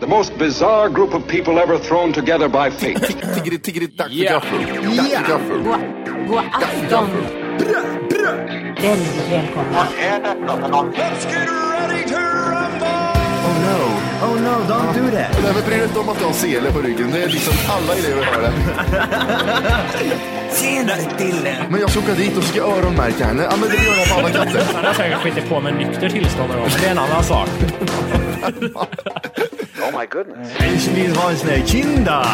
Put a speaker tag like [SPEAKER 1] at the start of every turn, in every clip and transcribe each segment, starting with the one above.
[SPEAKER 1] The most bizarre group of people ever thrown together by fate.
[SPEAKER 2] Tiggeri, tiggeri, dack för
[SPEAKER 3] Ja.
[SPEAKER 2] gaffel. Dack för gaffel.
[SPEAKER 4] God, god afton! Väldigt välkomna.
[SPEAKER 5] Oh no, oh no, don't do that.
[SPEAKER 2] Nej, men bry dig inte om att du har sele på ryggen. Det är liksom alla elever har det.
[SPEAKER 5] Tjenare Dille!
[SPEAKER 2] Men jag ska åka dit och ska öronmärka henne. Ja, men det gör jag på alla katter.
[SPEAKER 3] Han har säkert skitit på med nykter tillstånd och det är en annan sak.
[SPEAKER 1] oh my goodness.
[SPEAKER 5] Ich vill ha en sån här kinda!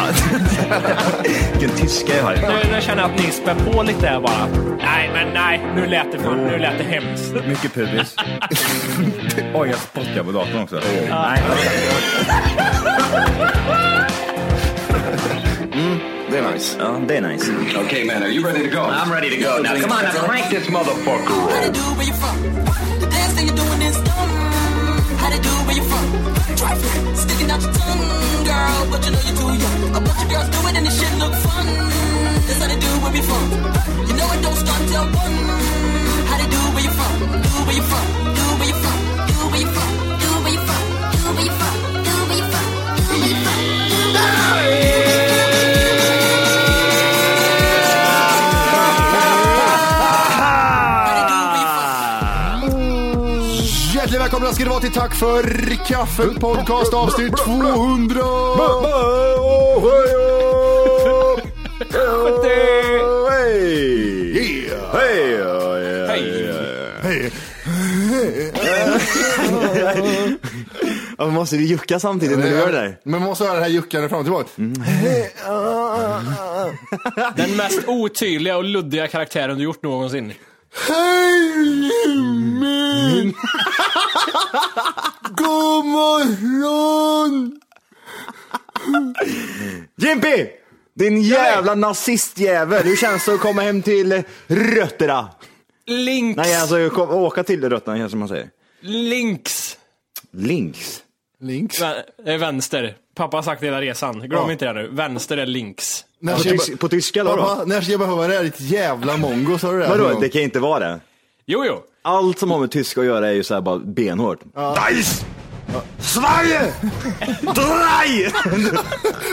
[SPEAKER 5] Vilken tyska jag har.
[SPEAKER 3] Nu, nu känner jag att ni spär på lite här bara. Nej, men nej. Nu lät det, för, nu lät det hemskt.
[SPEAKER 6] Mycket pubis. Oj, jag spottar på datorn också. Nej,
[SPEAKER 2] Det är nice.
[SPEAKER 6] ja, det är nice.
[SPEAKER 1] Okay, man, are you ready to go? I'm ready to go. Now, come on, now crank this motherfucker
[SPEAKER 7] How to do where you from? The dance thing you're doing is dumb. How to do where you from? Try it. Sticking out your tongue, girl, but you know you're too young. A bunch of girls do it and this shit look fun. That's how they do where we from. You know it don't start till one. How to do where you from? Do where you from? Do where you from? Do where you from? Do where you from? Do where you from? Do where you from? Do where you from? Do where you from? How to do where you from?
[SPEAKER 2] Hjärtligt välkomna ska det vara till Tack för kaffet podcast avsnitt 200! Hej! Hej!
[SPEAKER 5] Ja, men måste du jucka samtidigt när du gör det där? Mm.
[SPEAKER 2] Men man måste höra det här juckandet fram och tillbaka.
[SPEAKER 3] Den mest otydliga och luddiga karaktären du gjort någonsin.
[SPEAKER 2] Hej
[SPEAKER 5] Mm.
[SPEAKER 2] Jimmy! God morgon!
[SPEAKER 5] Jimpi! Din jävla nazistjävel! Hur känns det att komma hem till rötterna?
[SPEAKER 3] Links!
[SPEAKER 5] Nej, alltså kom, åka till rötterna kanske man säger.
[SPEAKER 3] Links!
[SPEAKER 5] Links.
[SPEAKER 2] Links.
[SPEAKER 3] Vä- Det är eh, vänster. Pappa har sagt hela resan. Glöm
[SPEAKER 2] Ja.
[SPEAKER 3] inte det nu. Vänster är links.
[SPEAKER 2] När
[SPEAKER 5] På,
[SPEAKER 2] ska jag
[SPEAKER 5] tys-
[SPEAKER 2] be-
[SPEAKER 5] på tyska eller vadå?
[SPEAKER 2] Pappa, när ska jag behöva det här ditt jävla mongo? Sa du det? här någon
[SPEAKER 5] Vadå,
[SPEAKER 2] gång?
[SPEAKER 5] det kan inte vara det.
[SPEAKER 3] Jo, jo.
[SPEAKER 5] Allt som har med tyska att göra är ju såhär bara benhårt. Dice! Sverige! Drei!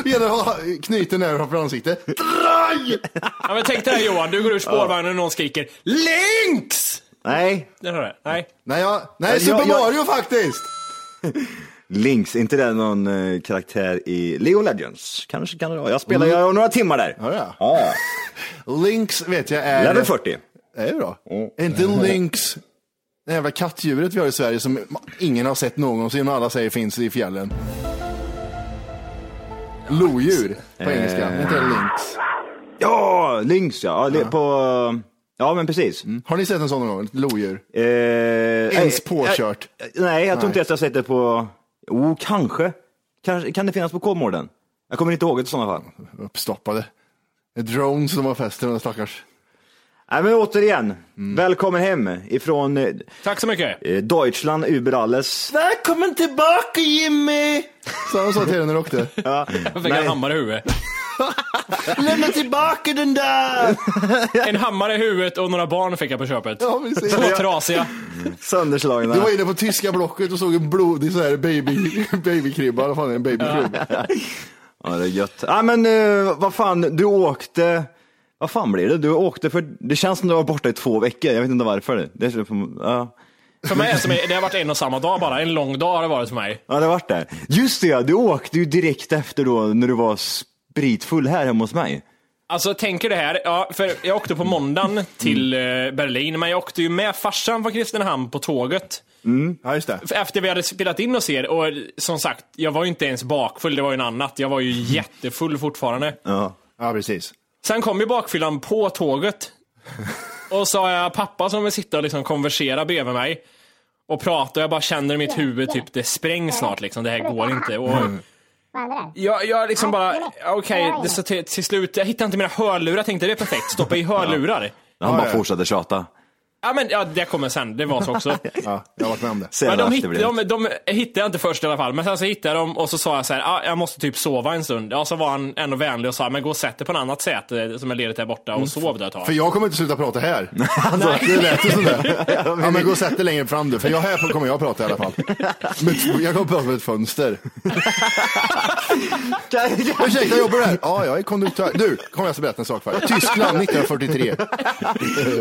[SPEAKER 2] Det gäller att ha knyten här framför ansiktet. Draj!
[SPEAKER 3] Ja, men tänk dig det här, Johan. Du går ur spårvagnen och någon skriker links!
[SPEAKER 5] Nej,
[SPEAKER 3] Det hör det. Nej.
[SPEAKER 2] Nej, jag, nej
[SPEAKER 5] Jag-
[SPEAKER 2] Super
[SPEAKER 5] jag-
[SPEAKER 2] Mario faktiskt!
[SPEAKER 5] Links, inte det någon eh, karaktär i Leo Legends? Kanske kan det vara. Jag spelar ju
[SPEAKER 2] Mm.
[SPEAKER 5] några timmar där.
[SPEAKER 2] Har jag?
[SPEAKER 5] Ja,
[SPEAKER 2] Links vet jag är...
[SPEAKER 5] level 40.
[SPEAKER 2] Det är ju bra. Är inte Links det jävla kattdjuret vi har i Sverige som ingen har sett någonsin och alla säger finns i fjällen? Lodjur på engelska. Är inte det Links?
[SPEAKER 5] Ja, Links ja. ja. li- På, ja men precis.
[SPEAKER 2] Har ni sett en sån någon gång? Ett lodjur?
[SPEAKER 5] Eh,
[SPEAKER 2] Mm. Ens
[SPEAKER 5] nej,
[SPEAKER 2] påkört?
[SPEAKER 5] eh, Nej, jag tror
[SPEAKER 2] Nej.
[SPEAKER 5] inte ens jag har sett det på... Jo, kanske. kanske. Kan det finnas på Kolmården? Jag kommer inte ihåg det i sådana fall.
[SPEAKER 2] Uppstoppade. Drones som var fäst i de där stackars.
[SPEAKER 5] Nej, men återigen,
[SPEAKER 2] Mm.
[SPEAKER 5] välkommen hem ifrån eh,
[SPEAKER 3] Tack så mycket.
[SPEAKER 5] eh, Deutschland über alles.
[SPEAKER 2] Välkommen tillbaka Jimmy! Så han sa till henne när du åkte.
[SPEAKER 3] Jag fick en hammare i huvudet.
[SPEAKER 2] Lämna tillbaka den där!
[SPEAKER 3] En hammare i huvudet och några barn fick jag på köpet.
[SPEAKER 2] Ja, precis.
[SPEAKER 3] Två trasiga.
[SPEAKER 5] Sönderslagna.
[SPEAKER 2] Du var inne på tyska blocket och såg en blodig så här baby, babykribba, vad fan är en babykribba?
[SPEAKER 5] Ja, det är gött. Nej, men eh, vad fan, du åkte... Vad fan blir det? Du åkte för... Det känns som du var borta i två veckor. Jag vet inte varför. Det, är som- ja.
[SPEAKER 3] För mig är det som det har varit en och samma dag bara. En lång dag har det varit för mig.
[SPEAKER 5] ja, det har varit det. Just det, ja, du åkte ju direkt efter då när du var spritfull här hemma hos mig.
[SPEAKER 3] Alltså tänker det här, ja, för jag åkte på måndagen till eh, Berlin, men jag åkte ju med farsan från Kristinehamn på tåget.
[SPEAKER 2] Ja, just det.
[SPEAKER 3] För Efter vi hade spelat in och er, och som sagt, jag var ju inte ens bakfull, det var ju en annat. Jag var ju jättefull fortfarande.
[SPEAKER 5] Ja.
[SPEAKER 2] Ja, precis.
[SPEAKER 3] Sen kom ju bakfyllan på tåget. Och så har jag pappa som vill sitta och liksom konversera bredvid mig. Och prata och jag bara känner i mitt huvud typ det sprängs snart liksom, det här går inte. Och jag, jag liksom bara, okej, det så till, till slut, jag hittade inte mina hörlurar, tänkte det är perfekt, stoppa i hörlurar.
[SPEAKER 5] Han bara
[SPEAKER 2] ja.
[SPEAKER 5] fortsatte tjata.
[SPEAKER 3] Ja men ja, det kommer sen, det var så också.
[SPEAKER 2] Ja, jag har varit med om det.
[SPEAKER 5] Sen
[SPEAKER 3] Men de,
[SPEAKER 5] efter
[SPEAKER 3] hitt,
[SPEAKER 5] blev det.
[SPEAKER 3] de, de hittade jag inte först i alla fall, men sen så hittade jag dem och så sa jag så här, ah, jag måste typ sova en stund. Ja, så var han ändå vänlig och sa, men gå och sätt dig på en annat säte som är ledigt där borta och sov där ett tag.
[SPEAKER 2] För jag kommer inte sluta prata här. Alltså, det lät ju sådär. Ja, men gå och sätt dig längre fram du, för jag här kommer jag prata i alla fall. Men jag kommer prata med ett fönster. Ursäkta, jobbar du här? Ja, jag är konduktör. Du, kommer jag ska berätta en sak för dig. Tyskland 1943.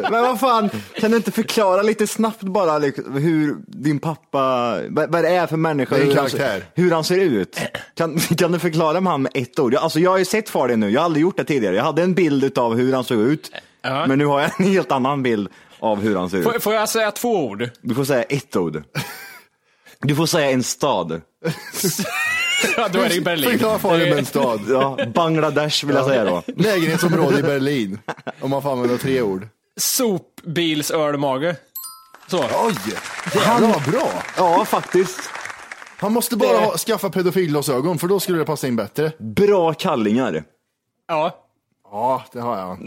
[SPEAKER 5] Men vad fan, kan du inte förklara lite snabbt bara liksom, hur din pappa, vad, vad det är för människa,
[SPEAKER 2] Det är en
[SPEAKER 5] hur, han,
[SPEAKER 2] karaktär.
[SPEAKER 5] ser- hur han ser ut? Kan, kan du förklara med han med ett ord? Jag, alltså jag har ju sett far din nu, jag har aldrig gjort det tidigare. Jag hade en bild av hur han såg ut,
[SPEAKER 3] Ja.
[SPEAKER 5] men nu har jag en helt annan bild av hur han ser ut.
[SPEAKER 2] Typ.
[SPEAKER 3] Får, får jag säga två ord?
[SPEAKER 5] Du får säga ett ord. Du får säga en stad.
[SPEAKER 3] Ja, då är det ju Berlin.
[SPEAKER 2] Förklara för dig med en stad.
[SPEAKER 5] Ja, Bangladesh vill jag säga då.
[SPEAKER 2] Lägenhetsområde i Berlin. Om man får använda tre ord.
[SPEAKER 3] Sopbilsölmage. Så.
[SPEAKER 2] Oj, jävlar vad bra.
[SPEAKER 5] Ja, faktiskt.
[SPEAKER 2] Han måste bara ha, skaffa pedofilglasögon, för då skulle det passa in bättre.
[SPEAKER 5] Bra kallingar.
[SPEAKER 3] Ja.
[SPEAKER 2] Ja, det har jag.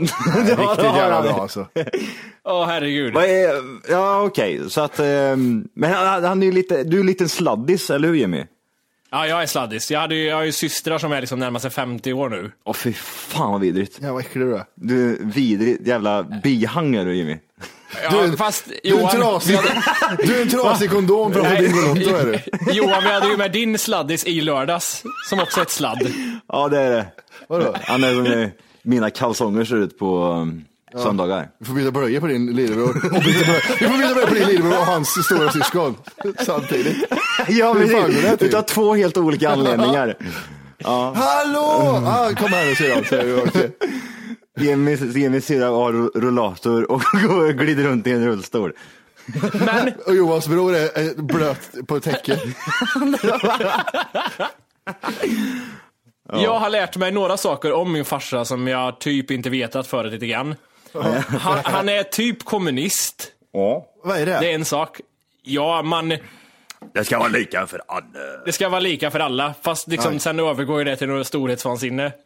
[SPEAKER 2] Riktigt jävla bra alltså.
[SPEAKER 3] Åh herregud.
[SPEAKER 5] Vad är, ja okej, så att, ehm, men han, han är ju lite, du är lite en sladdis, eller hur Jimmy?
[SPEAKER 3] Ja, jag är sladdis. Jag, hade ju, jag har ju systrar som är liksom närmar sig 50 år nu.
[SPEAKER 5] Åh fy fan vad vidrigt.
[SPEAKER 2] Jävlar vad äcklig du är.
[SPEAKER 5] Du är vidrig jävla bihangare du Jimmy.
[SPEAKER 3] Ja, fast
[SPEAKER 2] Du är en
[SPEAKER 3] Johan,
[SPEAKER 2] trasig, du är en trasig kondom från
[SPEAKER 3] Nej.
[SPEAKER 2] Bingolotto är du.
[SPEAKER 3] Johan, vi hade ju med din sladdis i lördags, som också är ett sladd.
[SPEAKER 5] Ja det är det.
[SPEAKER 2] Vadå?
[SPEAKER 5] Han är som eh, mina kalsonger ser ut på um, söndagar.
[SPEAKER 2] Vi får byta blöjor på din lillebror. Och byta blöjor- Vi får byta blöjor på din lillebror och hans stora syskon samtidigt.
[SPEAKER 5] Ja
[SPEAKER 2] Hur fan går det här till?
[SPEAKER 5] Utav två helt olika anledningar.
[SPEAKER 3] Mm.
[SPEAKER 2] Hallå! Ah, kom här nu syrran, säger du. Okej.
[SPEAKER 5] Jimmy, Jimmy syrra har rullator och går och glider runt i en rullstol.
[SPEAKER 3] Men
[SPEAKER 2] Och Johans bror är är blöt på ett täcke.
[SPEAKER 3] Jag har lärt mig några saker om min farsa som jag typ inte vetat förut lite grann. Han, han är typ kommunist,
[SPEAKER 6] Ja.
[SPEAKER 2] Vad är
[SPEAKER 3] det
[SPEAKER 2] det?
[SPEAKER 3] är en sak. Ja, man,
[SPEAKER 6] Det ska vara lika för alla.
[SPEAKER 3] det ska vara lika för alla, fast liksom, sen övergår ju det till något storhetsvansinne.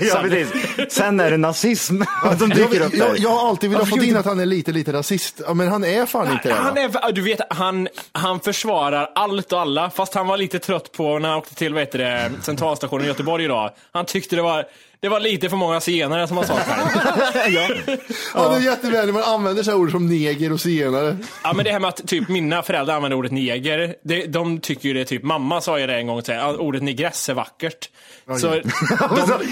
[SPEAKER 5] Ja, precis. Sen är det nazism som dyker
[SPEAKER 2] Jag,
[SPEAKER 5] upp där.
[SPEAKER 2] jag, jag har alltid velat få in att han är lite, lite rasist. Ja, men han är fan inte det.
[SPEAKER 3] Han,
[SPEAKER 2] va?
[SPEAKER 3] är, du vet, han, han försvarar allt och alla, fast han var lite trött på när han åkte till vad heter det, centralstationen i Göteborg idag. Han tyckte det var, det var lite för många zigenare som han sa själv.
[SPEAKER 2] Han är jättevänlig, man använder så här ord som neger och zigenare.
[SPEAKER 3] Ja men det här med att typ mina föräldrar använder ordet neger, det, de tycker ju det är typ, mamma sa ju det en gång till ah, ordet negress är vackert. Så,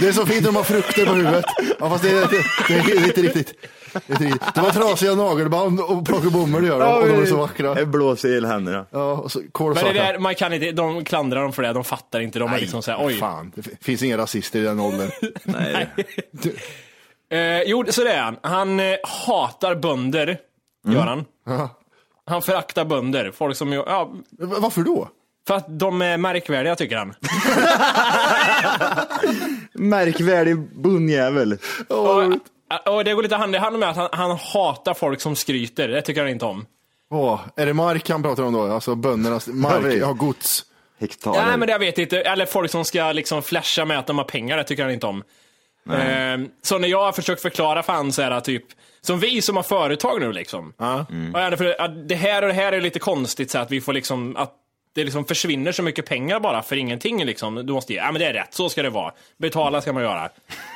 [SPEAKER 2] Det är så fint när de har frukter på huvudet. Ja, fast det är, det, det är inte riktigt. Det, är inte riktigt. det var trasiga nagelband och plocka bomull gör de, och de är så vackra.
[SPEAKER 5] Jag blåser i händerna.
[SPEAKER 2] Ja, och så
[SPEAKER 3] men det
[SPEAKER 2] kolsvarta.
[SPEAKER 3] där, man kan inte, de klandrar dem för det, de fattar inte, de är liksom såhär oj.
[SPEAKER 2] Fan, det f- finns inga rasister i den åldern.
[SPEAKER 3] Eh, jo, så det är han. Han eh, hatar bönder, gör han. Han föraktar bönder, folk som, ju- ja,
[SPEAKER 2] V- Varför då?
[SPEAKER 3] för att de är märkvärdiga tycker han.
[SPEAKER 5] Märkvärdig bonnjävel.
[SPEAKER 3] Eh, Och, och det går lite hand i hand med att han, han hatar folk som skryter, det tycker han inte om.
[SPEAKER 2] Åh, är det mark han pratar om då? Alltså böndernas
[SPEAKER 5] Ja,
[SPEAKER 2] mark,
[SPEAKER 5] precis.
[SPEAKER 2] ja gods.
[SPEAKER 5] Hektarer.
[SPEAKER 3] Nej, men det jag vet inte. Eller folk som ska liksom flasha med att de har pengar, det tycker han inte om. Ehm, så när jag har försökt förklara för han så här, typ, som vi som har företag nu liksom. Och jag hade för, att det här och det här är lite konstigt så att vi får liksom, att det liksom försvinner så mycket pengar bara för ingenting liksom. Du måste ge, ja men det är rätt, så ska det vara. Betala ska man göra.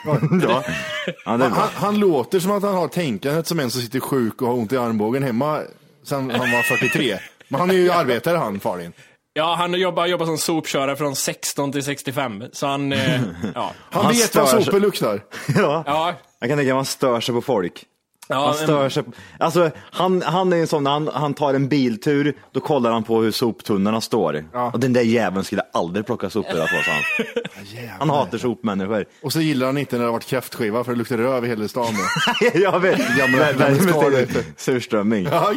[SPEAKER 5] Bra. Ja, det är
[SPEAKER 2] Han,
[SPEAKER 5] bra.
[SPEAKER 2] han låter som att han har tänkandet som en som sitter sjuk och har ont i armbågen hemma sen han var 43. Men han är ju arbetare han, Farin.
[SPEAKER 3] Ja, han jobbar, jobbar som sopkörare från 16 till 65, så han, eh, ja.
[SPEAKER 2] Han,
[SPEAKER 5] Han
[SPEAKER 2] vet vad
[SPEAKER 5] stör sig.
[SPEAKER 2] sopor luktar.
[SPEAKER 5] Ja.
[SPEAKER 3] ja.
[SPEAKER 5] Jag kan tänka mig att man stör sig på folk.
[SPEAKER 3] Ja,
[SPEAKER 5] han
[SPEAKER 3] men-
[SPEAKER 5] stör sig. på- Alltså, han, han är en sån, när han, han tar en biltur, då kollar han på hur soptunnorna står. Och den där jäveln skulle aldrig plocka sopor på sa han. Han hatar sopmänniskor.
[SPEAKER 2] Och så gillar han inte när det har varit kräftskiva för det luktar röv i hela stan. då.
[SPEAKER 5] jag vet,
[SPEAKER 2] Gamla-
[SPEAKER 5] Vär-
[SPEAKER 2] gamla
[SPEAKER 5] värmen
[SPEAKER 2] skador.
[SPEAKER 5] till surströmming.
[SPEAKER 2] Ja,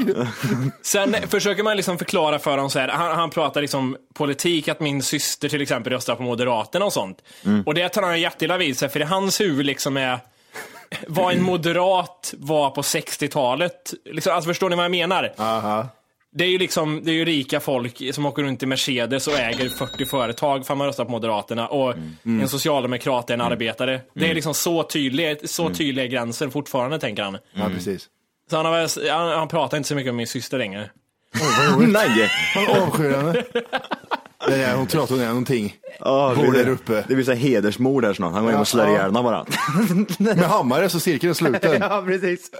[SPEAKER 3] Sen försöker man liksom förklara för honom så här, han, han pratar liksom politik, att min syster till exempel röstar på Moderaterna och sånt. Och det tar han jätteilla vid sig, för i hans huvud liksom är vad en moderat var på 60-talet. Liksom, alltså förstår ni vad jag menar? Det är ju liksom, det är ju rika folk som åker runt i Mercedes och äger 40 företag för att man röstar på Moderaterna och en socialdemokrat är en arbetare. Det är liksom så tydliga, så tydliga gränser fortfarande, tänker han.
[SPEAKER 2] ja precis.
[SPEAKER 3] Så han, har, väl- han, han pratar inte så mycket om min syster längre.
[SPEAKER 5] Nej!
[SPEAKER 2] Han avskyr henne. Det är, hon tror att hon är någonting.
[SPEAKER 5] Oh,
[SPEAKER 2] Bor där uppe.
[SPEAKER 5] Det blir så här hedersmord här snart. Han går in och slår
[SPEAKER 2] Ja.
[SPEAKER 5] ihjäl henne bara.
[SPEAKER 2] Med hammare så cirkeln är sluten.
[SPEAKER 5] ja, precis.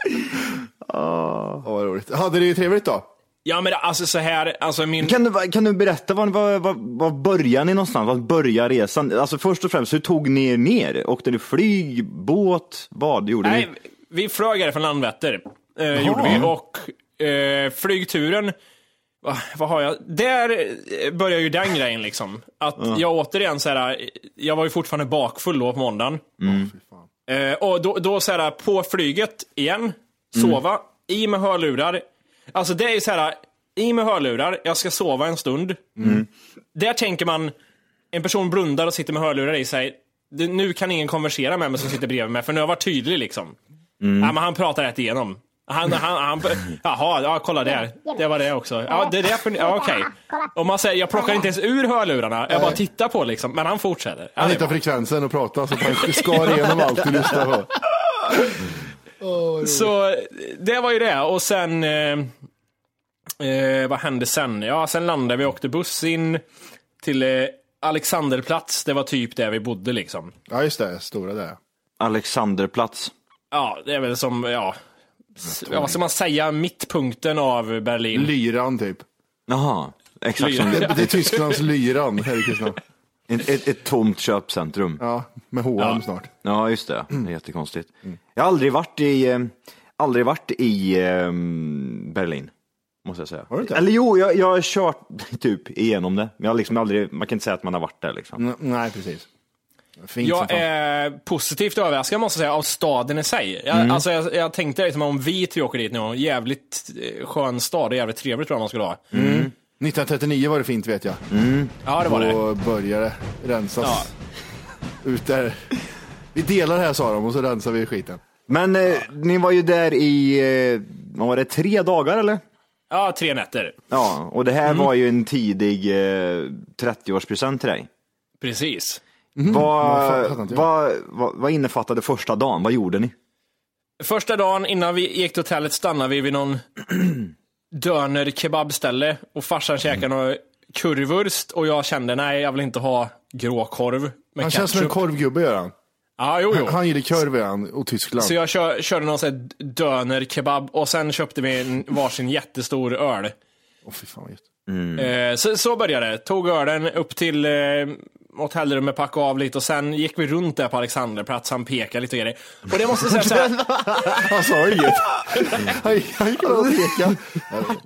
[SPEAKER 2] Ja, vad roligt. Hade det trevligt då?
[SPEAKER 3] Ja men alltså så här, alltså min...
[SPEAKER 5] Kan du, kan du berätta, var, var, var, var börjar ni någonstans? Var börjar resan? Alltså först och främst, hur tog ni er ner? Åkte ni flyg, båt, vad gjorde
[SPEAKER 3] Nej,
[SPEAKER 5] ni?
[SPEAKER 3] vi flög här från Landvetter, eh, gjorde vi, och eh, flygturen, va, vad har jag? Där eh, börjar ju den grejen liksom. Att jag återigen så här, eh, jag var ju fortfarande bakfull då på måndagen. Eh, och då, då så här, på flyget igen, sova, i med hörlurar. Alltså det är ju så här, i med hörlurar, jag ska sova en stund. Där tänker man, en person blundar och sitter med hörlurar i sig. Det, nu kan ingen konversera med mig som sitter bredvid mig, för nu har jag varit tydlig liksom. Ja, men han pratar rätt igenom. Han, han, han, jaha, ja, kolla där. Det var det också. Ja, det är det för, ja, okej. Och man säger, jag plockar inte ens ur hörlurarna, jag bara tittar på liksom, men han fortsätter. Ja,
[SPEAKER 2] Han
[SPEAKER 3] det är
[SPEAKER 2] hittar
[SPEAKER 3] bra.
[SPEAKER 2] frekvensen och pratar så att han skar igenom allt du lyssnar på.
[SPEAKER 3] Så det var ju det, och sen, eh, eh, vad hände sen? Ja, sen landade vi och åkte buss in till eh, Alexanderplats, det var typ där vi bodde liksom.
[SPEAKER 2] Ja, just det. Stora där.
[SPEAKER 5] Alexanderplatz.
[SPEAKER 3] Ja, det är väl som, ja, s- ja, vad ska man säga, mittpunkten av Berlin.
[SPEAKER 2] Lyran typ.
[SPEAKER 5] Jaha, exakt som
[SPEAKER 2] Det,
[SPEAKER 5] det.
[SPEAKER 2] det är Tysklands Lyran här i Kristianstad.
[SPEAKER 5] Ett, ett, ett tomt köpcentrum.
[SPEAKER 2] Ja, med H&M snart.
[SPEAKER 5] Ja, just det. Det är jättekonstigt.
[SPEAKER 2] Mm.
[SPEAKER 5] Jag har aldrig varit i, eh, aldrig varit i eh, Berlin, måste jag säga.
[SPEAKER 2] Har du inte?
[SPEAKER 5] Eller jo, jag, jag har kört typ igenom det. Men jag har liksom aldrig, man kan inte säga att man har varit där liksom.
[SPEAKER 2] N- nej, precis. Fint som
[SPEAKER 3] Jag
[SPEAKER 2] fan.
[SPEAKER 3] är positivt överraskad måste jag säga av staden i sig. Jag,
[SPEAKER 2] Mm.
[SPEAKER 3] alltså, jag, jag tänkte liksom om vi tre åker dit nu, jävligt eh, skön stad och jävligt trevligt tror jag man skulle ha.
[SPEAKER 2] 1939 var det fint vet jag.
[SPEAKER 3] Ja det var det.
[SPEAKER 2] Då började det rensas. Ut där. Vi delar här sa de och så rensar vi skiten.
[SPEAKER 5] Men eh, ni var ju där i, eh, vad var det, tre dagar eller?
[SPEAKER 3] Ja, tre nätter.
[SPEAKER 5] Ja, och det här
[SPEAKER 2] Mm.
[SPEAKER 5] var ju en tidig eh, 30-årspresent till dig.
[SPEAKER 3] Precis.
[SPEAKER 5] Vad,
[SPEAKER 2] fattar Mm. inte jag.
[SPEAKER 5] vad, vad, vad innefattade första dagen? Vad gjorde ni?
[SPEAKER 3] Första dagen innan vi gick till hotellet stannade vi vid någon döner kebabställe och farsan käkade
[SPEAKER 2] Mm.
[SPEAKER 3] några kurvurst och jag kände nej, jag vill inte ha gråkorv med
[SPEAKER 2] Han
[SPEAKER 3] ketchup.
[SPEAKER 2] känns som en korvgubbe gör han.
[SPEAKER 3] Ja, jo, jo.
[SPEAKER 2] Han gillar korv gör han och Tyskland.
[SPEAKER 3] Så jag kör, körde någon sån här döner kebab och sen köpte vi en varsin jättestor öl.
[SPEAKER 2] Åh, fy fan vad gött. Mm.
[SPEAKER 3] Eh, Så, så började det. Tog ölen upp till eh, hotellrummet, packade av lite och sen gick vi runt där på Alexanderplats. Han pekade lite och grejer. Och det måste jag säga såhär,
[SPEAKER 2] Han sa inget. Han, han gick bara och pekade.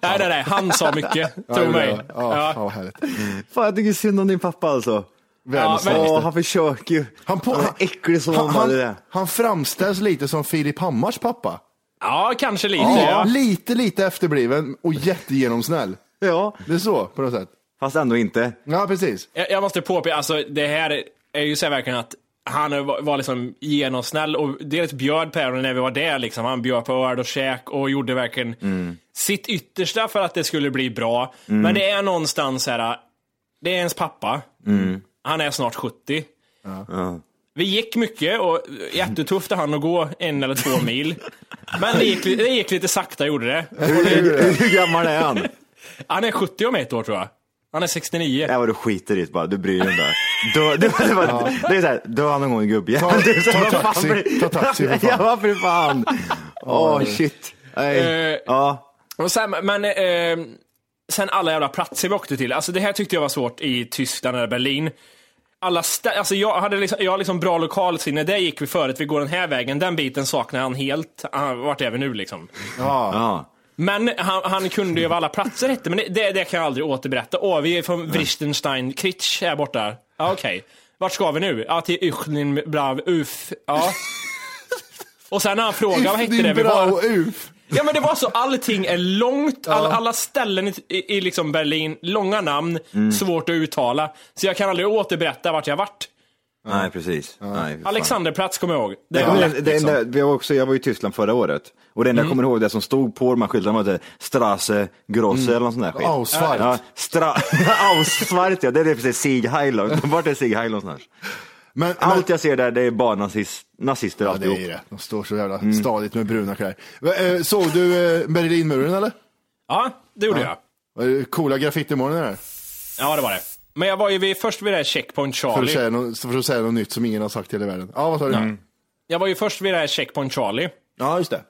[SPEAKER 3] nej nej nej, han sa mycket. Tro mig.
[SPEAKER 2] Ja, ja.
[SPEAKER 3] Ja.
[SPEAKER 2] vad härligt.
[SPEAKER 5] Fan, jag tycker synd om din pappa alltså.
[SPEAKER 2] Världens
[SPEAKER 3] men-
[SPEAKER 2] sämsta.
[SPEAKER 5] Åh, han försöker ju. Han,
[SPEAKER 2] på-
[SPEAKER 5] är äcklig som han, han, det där.
[SPEAKER 2] han framställs lite som Filip Hammars pappa.
[SPEAKER 3] ja, kanske lite.
[SPEAKER 2] Ja.
[SPEAKER 3] Ja.
[SPEAKER 2] Lite, lite efterbliven och jättegenomsnäll.
[SPEAKER 5] Ja,
[SPEAKER 2] Det är så, på något sätt.
[SPEAKER 5] fast ändå inte.
[SPEAKER 2] Ja, precis.
[SPEAKER 3] Jag, jag måste påpeka, alltså det här är ju så här verkligen att han var var liksom genomsnäll och dels bjöd Päron när vi var där liksom. Han bjöd på öl och käk och gjorde verkligen sitt yttersta för att det skulle bli bra. Men det är någonstans så här, det är ens pappa. Han är snart 70. Vi gick mycket och jättetufft han att gå en eller två mil. Men det gick, li- det gick lite sakta gjorde det.
[SPEAKER 5] Hur, hur, hur gammal är han?
[SPEAKER 3] Han är 70 om ett år tror jag. Han är 69.
[SPEAKER 5] Det är vad du skiter i det bara, du bryr dig inte. Dö, det, var- det, var- det är såhär, dö någon gång gubbjävel.
[SPEAKER 2] Ta-
[SPEAKER 5] Det är så
[SPEAKER 2] ta
[SPEAKER 5] här, vad fan
[SPEAKER 2] taxi,
[SPEAKER 5] blir-
[SPEAKER 2] ta taxi, för fan.
[SPEAKER 5] Ja, vad för fan. Åh shit. Nej.
[SPEAKER 3] Eh,
[SPEAKER 5] ja.
[SPEAKER 3] Och sen, men eh, sen alla jävla platser vi åkte till. Alltså det här tyckte jag var svårt i Tyskland eller Berlin. alla stä- alltså jag, hade liksom, jag har liksom bra lokalsinne, där gick vi förut, vi går den här vägen, den biten saknar han helt. Ah, Vart är vi nu liksom?
[SPEAKER 5] Ja.
[SPEAKER 3] Men han, han kunde ju vad alla platser hette, men det, det, det kan jag aldrig återberätta. Åh, vi är från Wristenstein, Kritsch här borta. Ja, okej. Vart ska vi nu? Ja, till Uchnin Brav Uf. Ja. Och sen när han frågade, vad hette det? Vi var,
[SPEAKER 2] Bra uf.
[SPEAKER 3] ja men det var så, allting är långt, all, alla ställen i, i i liksom Berlin, långa namn, svårt att uttala. Så jag kan aldrig återberätta vart jag varit.
[SPEAKER 5] Nej, precis. Nej, för fan.
[SPEAKER 3] Alexanderplatz kommer jag ihåg. Det
[SPEAKER 5] Det
[SPEAKER 3] var
[SPEAKER 5] var,
[SPEAKER 3] lätt,
[SPEAKER 5] det
[SPEAKER 3] liksom.
[SPEAKER 5] enda, vi var också, jag var i Tyskland förra året och det enda jag kommer ihåg det som stod på de här skyltarna var att det- Strasse Grosse eller någon sån där skit.
[SPEAKER 2] Ausfahrt.
[SPEAKER 5] Ja, stra, Ausfahrt ja, det är det precis Sieg Heil. Vart är Sieg Heil någonstans?
[SPEAKER 2] Men, men,
[SPEAKER 5] Allt jag ser där det är bara nazist, nazister
[SPEAKER 2] ja, det är
[SPEAKER 5] alltihop.
[SPEAKER 2] ju det. De står så jävla
[SPEAKER 5] Mm.
[SPEAKER 2] stadigt med bruna kläder. Eh, eh, Såg du eh, Berlinmuren eller?
[SPEAKER 3] Ja, det gjorde jag.
[SPEAKER 2] Var det Coola graffitimålningar där.
[SPEAKER 3] Ja, det var det. Men jag var ju vid, först vid det här Checkpoint
[SPEAKER 2] För att,
[SPEAKER 3] Charlie.
[SPEAKER 2] säga något, för att säga något nytt som ingen har sagt i hela världen. Ja, vad sa du?
[SPEAKER 3] Mm. Jag var ju först vid det här Checkpoint Charlie.
[SPEAKER 2] Ja, just det.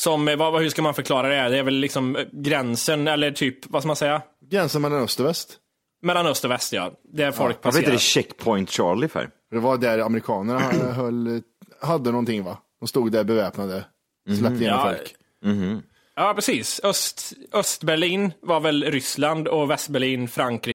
[SPEAKER 3] Som, eh, vad, vad- hur ska man förklara det? här? Det är väl liksom eh, gränsen, eller typ, vad ska man säga?
[SPEAKER 2] Gränsen mellan öst och väst.
[SPEAKER 3] Mellan öst och väst ja. Där folk
[SPEAKER 5] Varför heter
[SPEAKER 3] passerar.
[SPEAKER 5] det Checkpoint Charlie för?
[SPEAKER 2] Det var där amerikanerna höll, hade någonting va? De stod där beväpnade, släppte igenom
[SPEAKER 3] Mm. Ja,
[SPEAKER 2] folk.
[SPEAKER 3] ja, precis. Öst, Östberlin var väl Ryssland och Västberlin Frankrike.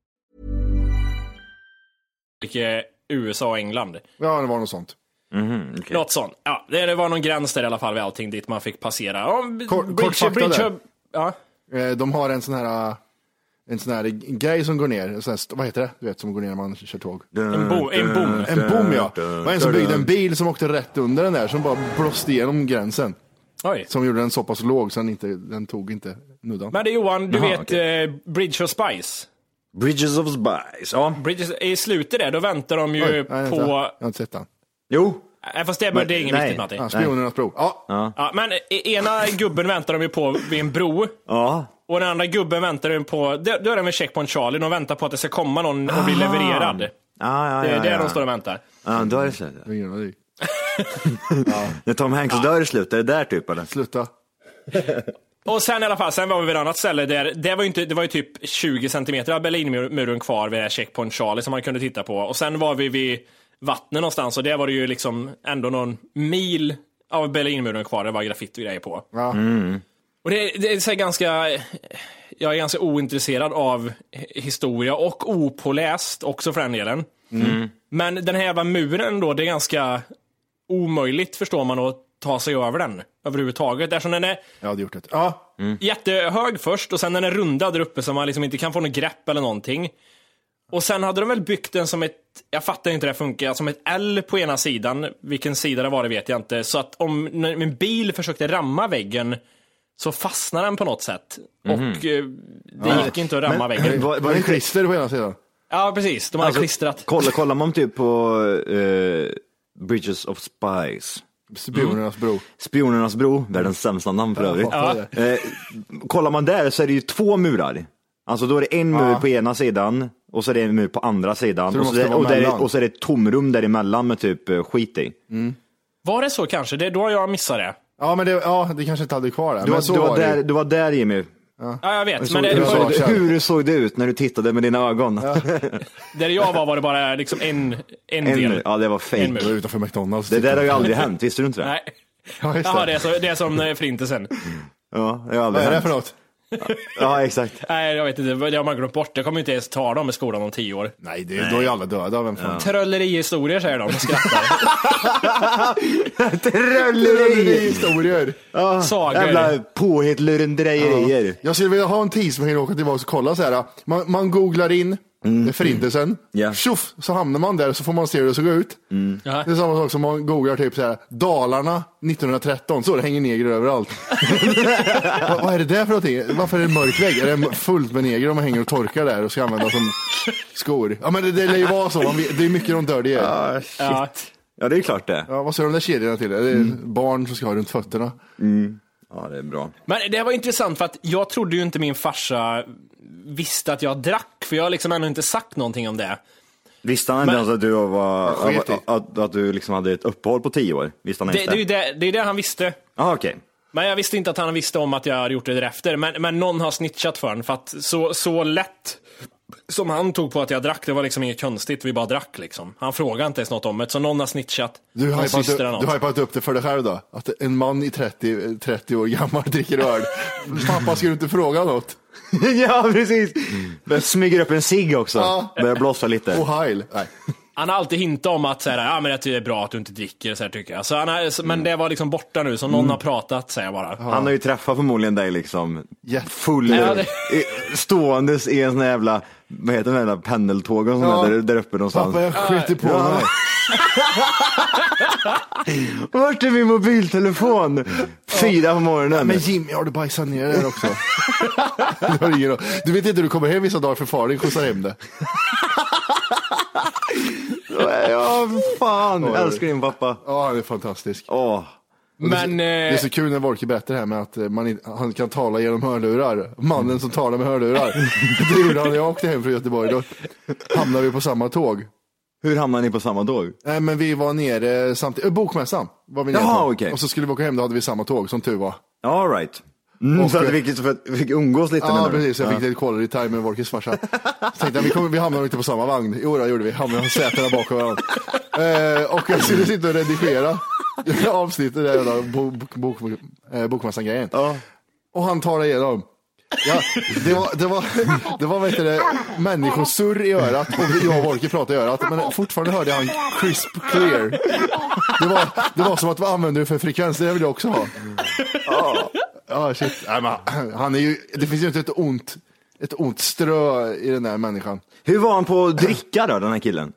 [SPEAKER 3] USA och England.
[SPEAKER 2] Ja, det var något sånt.
[SPEAKER 3] Något sånt. Ja, det det var någon gräns där i alla fall vid allting dit man fick passera. Ja, b-
[SPEAKER 2] Kort-
[SPEAKER 3] bridge-
[SPEAKER 2] kort fakta
[SPEAKER 3] bridge-
[SPEAKER 2] där.
[SPEAKER 3] Ja.
[SPEAKER 2] Eh, De har en sån här, en sån här grej som går ner, en sån här, st- vad heter det? Du vet, som går ner när man kör tåg.
[SPEAKER 3] En, bo,
[SPEAKER 5] Eh,
[SPEAKER 3] en bom.
[SPEAKER 2] En bom ja. Det var en som byggde en bil som åkte rätt under den där, som bara blåste igenom gränsen.
[SPEAKER 3] Oj.
[SPEAKER 2] Som gjorde den så pass låg så den, inte, den tog inte nuddan.
[SPEAKER 3] Men det Johan, du
[SPEAKER 5] Jaha,
[SPEAKER 3] vet
[SPEAKER 5] okej.
[SPEAKER 3] eh, Bridge of Spice?
[SPEAKER 5] Bridges of Spice, ja.
[SPEAKER 3] Bridges, I slutet där, då väntar de ju
[SPEAKER 2] Oj, nej,
[SPEAKER 3] på...
[SPEAKER 2] vänta. Jag har inte sett den.
[SPEAKER 5] Jo.
[SPEAKER 3] Nej, fast det, är-
[SPEAKER 5] Men-
[SPEAKER 3] det är inget
[SPEAKER 5] nej.
[SPEAKER 3] viktigt Matti.
[SPEAKER 2] Ah, spionernas bro. Ja,
[SPEAKER 3] Ja, men i- ena gubben väntar de ju på vid en bro.
[SPEAKER 5] Ja.
[SPEAKER 3] Och den andra gubben väntar de på, då då är de med Checkpoint Charlie, de väntar på att det ska komma någon och bli levererad. Det
[SPEAKER 5] Ah, ja,
[SPEAKER 3] är
[SPEAKER 5] ja,
[SPEAKER 3] där
[SPEAKER 5] ja.
[SPEAKER 3] de står och väntar.
[SPEAKER 5] Ja, då är det slut.
[SPEAKER 2] det är ingen aning.
[SPEAKER 5] När Tom Hanks dör i slutet, är det där typ eller?
[SPEAKER 2] Sluta.
[SPEAKER 3] Och sen i alla fall, sen var vi vid ett annat ställe där, det var ju, inte, det var ju typ 20 centimeter av Berlinmuren kvar vid det här Checkpoint Charlie som man kunde titta på. Och sen var vi vid vattnet någonstans och där var det ju liksom ändå någon mil av Berlinmuren kvar, det var graffiti och grejer på.
[SPEAKER 2] Ja.
[SPEAKER 3] Och det, det är så här ganska, jag är ganska ointresserad av historia och opåläst också för den delen. Men den här jävla muren då, det är ganska omöjligt förstår man att ta sig över den överhuvudtaget. Eftersom den är
[SPEAKER 2] Jag hade gjort det. Ja,
[SPEAKER 3] jättehög först och sen den är rundad där uppe så man liksom inte kan få något grepp eller någonting. Och sen hade de väl byggt den som ett, jag fattar inte hur det funkar, som ett L på ena sidan. Vilken sida det var det vet jag inte. Så att om när min bil försökte ramma väggen så fastnade den på något sätt. Och eh, det gick inte att ramma väggen.
[SPEAKER 5] Var, var
[SPEAKER 2] var
[SPEAKER 5] det
[SPEAKER 2] det
[SPEAKER 5] inte
[SPEAKER 2] klister på ena sidan?
[SPEAKER 3] Ja precis, de hade klistrat.
[SPEAKER 5] Kolla, kollar man typ på eh, Bridges of Spies,
[SPEAKER 2] Spionernas
[SPEAKER 5] Mm.
[SPEAKER 2] bro.
[SPEAKER 5] Spionernas bro, världens sämsta namn för övrigt.
[SPEAKER 2] Mm. Ja.
[SPEAKER 5] Eh, kollar man där så är det ju två murar. Alltså då är det en mur på ena sidan och så är det en mur på andra sidan.
[SPEAKER 2] Så det
[SPEAKER 5] och, så
[SPEAKER 2] måste
[SPEAKER 5] det,
[SPEAKER 2] vara
[SPEAKER 5] och, där,
[SPEAKER 2] mellan.
[SPEAKER 5] och så är det ett tomrum däremellan med typ eh, skit i.
[SPEAKER 3] Var det så kanske? Det är då jag missade det.
[SPEAKER 2] Ja, men det, ja, det kanske inte hade kvar det.
[SPEAKER 5] Du,
[SPEAKER 2] Men
[SPEAKER 5] var,
[SPEAKER 2] så
[SPEAKER 5] du, var
[SPEAKER 2] var det
[SPEAKER 5] där,
[SPEAKER 2] ju.
[SPEAKER 5] du var där Jimmy.
[SPEAKER 3] Ja jag vet,
[SPEAKER 5] Så,
[SPEAKER 3] men det,
[SPEAKER 5] hur,
[SPEAKER 2] jag
[SPEAKER 3] var,
[SPEAKER 2] sa-
[SPEAKER 5] såg, hur såg det ut när du tittade med dina ögon?
[SPEAKER 3] där jag var var det bara liksom en, en
[SPEAKER 5] en
[SPEAKER 3] del.
[SPEAKER 5] mur. Ja, det var
[SPEAKER 3] En
[SPEAKER 2] Det var
[SPEAKER 3] mur.
[SPEAKER 5] fake.
[SPEAKER 2] utanför McDonalds. typ.
[SPEAKER 5] Det där har ju aldrig hänt, visste du inte det?
[SPEAKER 3] Nej.
[SPEAKER 2] Ja, just
[SPEAKER 3] Jaha,
[SPEAKER 2] det.
[SPEAKER 3] det är, så, det är som eh, förintelsen.
[SPEAKER 5] Ja, det har
[SPEAKER 2] Vad
[SPEAKER 5] aldrig
[SPEAKER 2] är det
[SPEAKER 5] hänt.
[SPEAKER 2] för något?
[SPEAKER 5] Ja, exakt.
[SPEAKER 3] Nej, jag vet inte. Det har man glömt bort. Jag kommer inte ens ta dem i skolan om tio år.
[SPEAKER 2] Nej, det, då är ju alla döda. Vem fan?
[SPEAKER 3] Tröllerihistorier säger de och skrattar.
[SPEAKER 2] Tröllerihistorier.
[SPEAKER 5] Ja,
[SPEAKER 3] Sagor.
[SPEAKER 5] Jävla påhitt lurendrejerier.
[SPEAKER 2] Ja. Jag skulle vilja ha en tid som man kan åka tillbaka och kolla så här. Man, man googlar in mm. förintelsen,
[SPEAKER 5] Ja.
[SPEAKER 2] tjoff, så hamnar man där så får man se hur det såg ut.
[SPEAKER 3] Ja.
[SPEAKER 2] Det är samma sak som man googlar typ så här, Dalarna 1913, så det hänger negrer överallt. vad, vad är det där för någonting? Varför är det mörk vägg? Är det fullt med negrer de hänger och torkar där och ska använda som skor? Ja men det, det lär ju vara så, man vet, det är mycket de dör det är.
[SPEAKER 5] Ja, shit.
[SPEAKER 3] Ja.
[SPEAKER 5] Ja, det är klart det.
[SPEAKER 2] Ja, vad ser de där kedjorna till? Är det barn som ska ha runt fötterna?
[SPEAKER 5] Ja, det är bra.
[SPEAKER 3] Men det var intressant för att jag trodde ju inte min farsa visste att jag drack, för jag har liksom ännu inte sagt någonting om det.
[SPEAKER 5] Visste han inte
[SPEAKER 3] Men-
[SPEAKER 5] ens att du, var,
[SPEAKER 2] Jag sket i.
[SPEAKER 5] att, att, att du liksom hade ett uppehåll på tio år? Visste han
[SPEAKER 3] Det, det
[SPEAKER 5] inte?
[SPEAKER 3] är ju det, det, är det han visste.
[SPEAKER 5] Ja, okej.
[SPEAKER 3] Men jag visste inte att han visste om att jag hade gjort det därefter. Men, men någon har snitchat för honom, för att så, så lätt som han tog på att jag drack, det var liksom inget konstigt, vi bara drack liksom. Han frågade inte ens något om det, så någon har snitchat.
[SPEAKER 2] Du har,
[SPEAKER 3] hans syster eller
[SPEAKER 2] hypat,
[SPEAKER 3] något.
[SPEAKER 2] du har hypat upp det för dig själv då? Att en man i 30, 30 år gammal dricker öl. Pappa, ska du inte fråga något?
[SPEAKER 5] ja, precis. Men smyger upp en cigg också. Börjar blossa lite.
[SPEAKER 2] Och heil. Nej.
[SPEAKER 3] Han har alltid hintat om att så här, ja, men jag tycker det är bra att du inte dricker, så här, tycker jag. Så han har, så- men
[SPEAKER 2] Mm.
[SPEAKER 3] det var liksom borta nu, så någon har pratat säger jag bara.
[SPEAKER 5] Han har ju träffat förmodligen dig liksom
[SPEAKER 2] Ja.
[SPEAKER 5] full,
[SPEAKER 3] Ja, det-
[SPEAKER 5] i- ståendes i en sån här jävla, vad heter de jävla pendeltågen som
[SPEAKER 2] Ja.
[SPEAKER 5] är där, där uppe någonstans.
[SPEAKER 2] Pappa, jag skiter på mig.
[SPEAKER 5] Vart är min mobiltelefon? Fyra på morgonen.
[SPEAKER 2] Men Jimmy, har du bajsat ner där också? Det har ingen aning. du vet inte, du kommer hem vissa dagar för far din skjutsar hem det.
[SPEAKER 5] Ja, fan. Jag älskar din pappa.
[SPEAKER 2] Ja, han är fantastisk.
[SPEAKER 5] Åh.
[SPEAKER 3] Men, eh,
[SPEAKER 2] Det är så kul när Wolke berättar det här med att eh, man, inte- han kan tala genom hörlurar. Mannen som talar med hörlurar. Det gjorde han när jag åkte hem från Göteborg. Då hamnade vi på samma tåg.
[SPEAKER 5] Hur hamnade ni på samma tåg?
[SPEAKER 2] Nej, men vi var nere samtidigt. Äh, Bokmässan var vi nere
[SPEAKER 5] Jaha,
[SPEAKER 2] på.
[SPEAKER 5] okej.
[SPEAKER 2] Och så skulle vi åka hem, då hade vi samma tåg som tur var.
[SPEAKER 5] All right. Mm,
[SPEAKER 2] Och-
[SPEAKER 5] så att vi fick, så att vi fick umgås lite
[SPEAKER 2] Ja,
[SPEAKER 5] menar du?
[SPEAKER 2] precis. Jag fick lite quality time med Wolkers farsa. Så tänkte jag, vi, kommer, vi hamnar inte på samma vagn. Jo, det gjorde vi. Hamnade sätena bakom varandra. Eh, och jag skulle sitta och redigera avsnittet, där jävla bo, bok, bok, eh, bokmässan-grejen.
[SPEAKER 5] Ja.
[SPEAKER 2] Och han tar det igenom. Ja, det var, det var, det var vet du, det, människosurr i örat och jag och Wolke pratade i örat, men fortfarande hörde jag han crisp clear. Det var, det var som att vad använder du för frekvens? Det vill jag också ha. Ja, ja shit. Nej, men han- han är ju, det finns ju inte ett ont, ett ont strö i den där människan.
[SPEAKER 5] Hur var han på att dricka då, den här killen?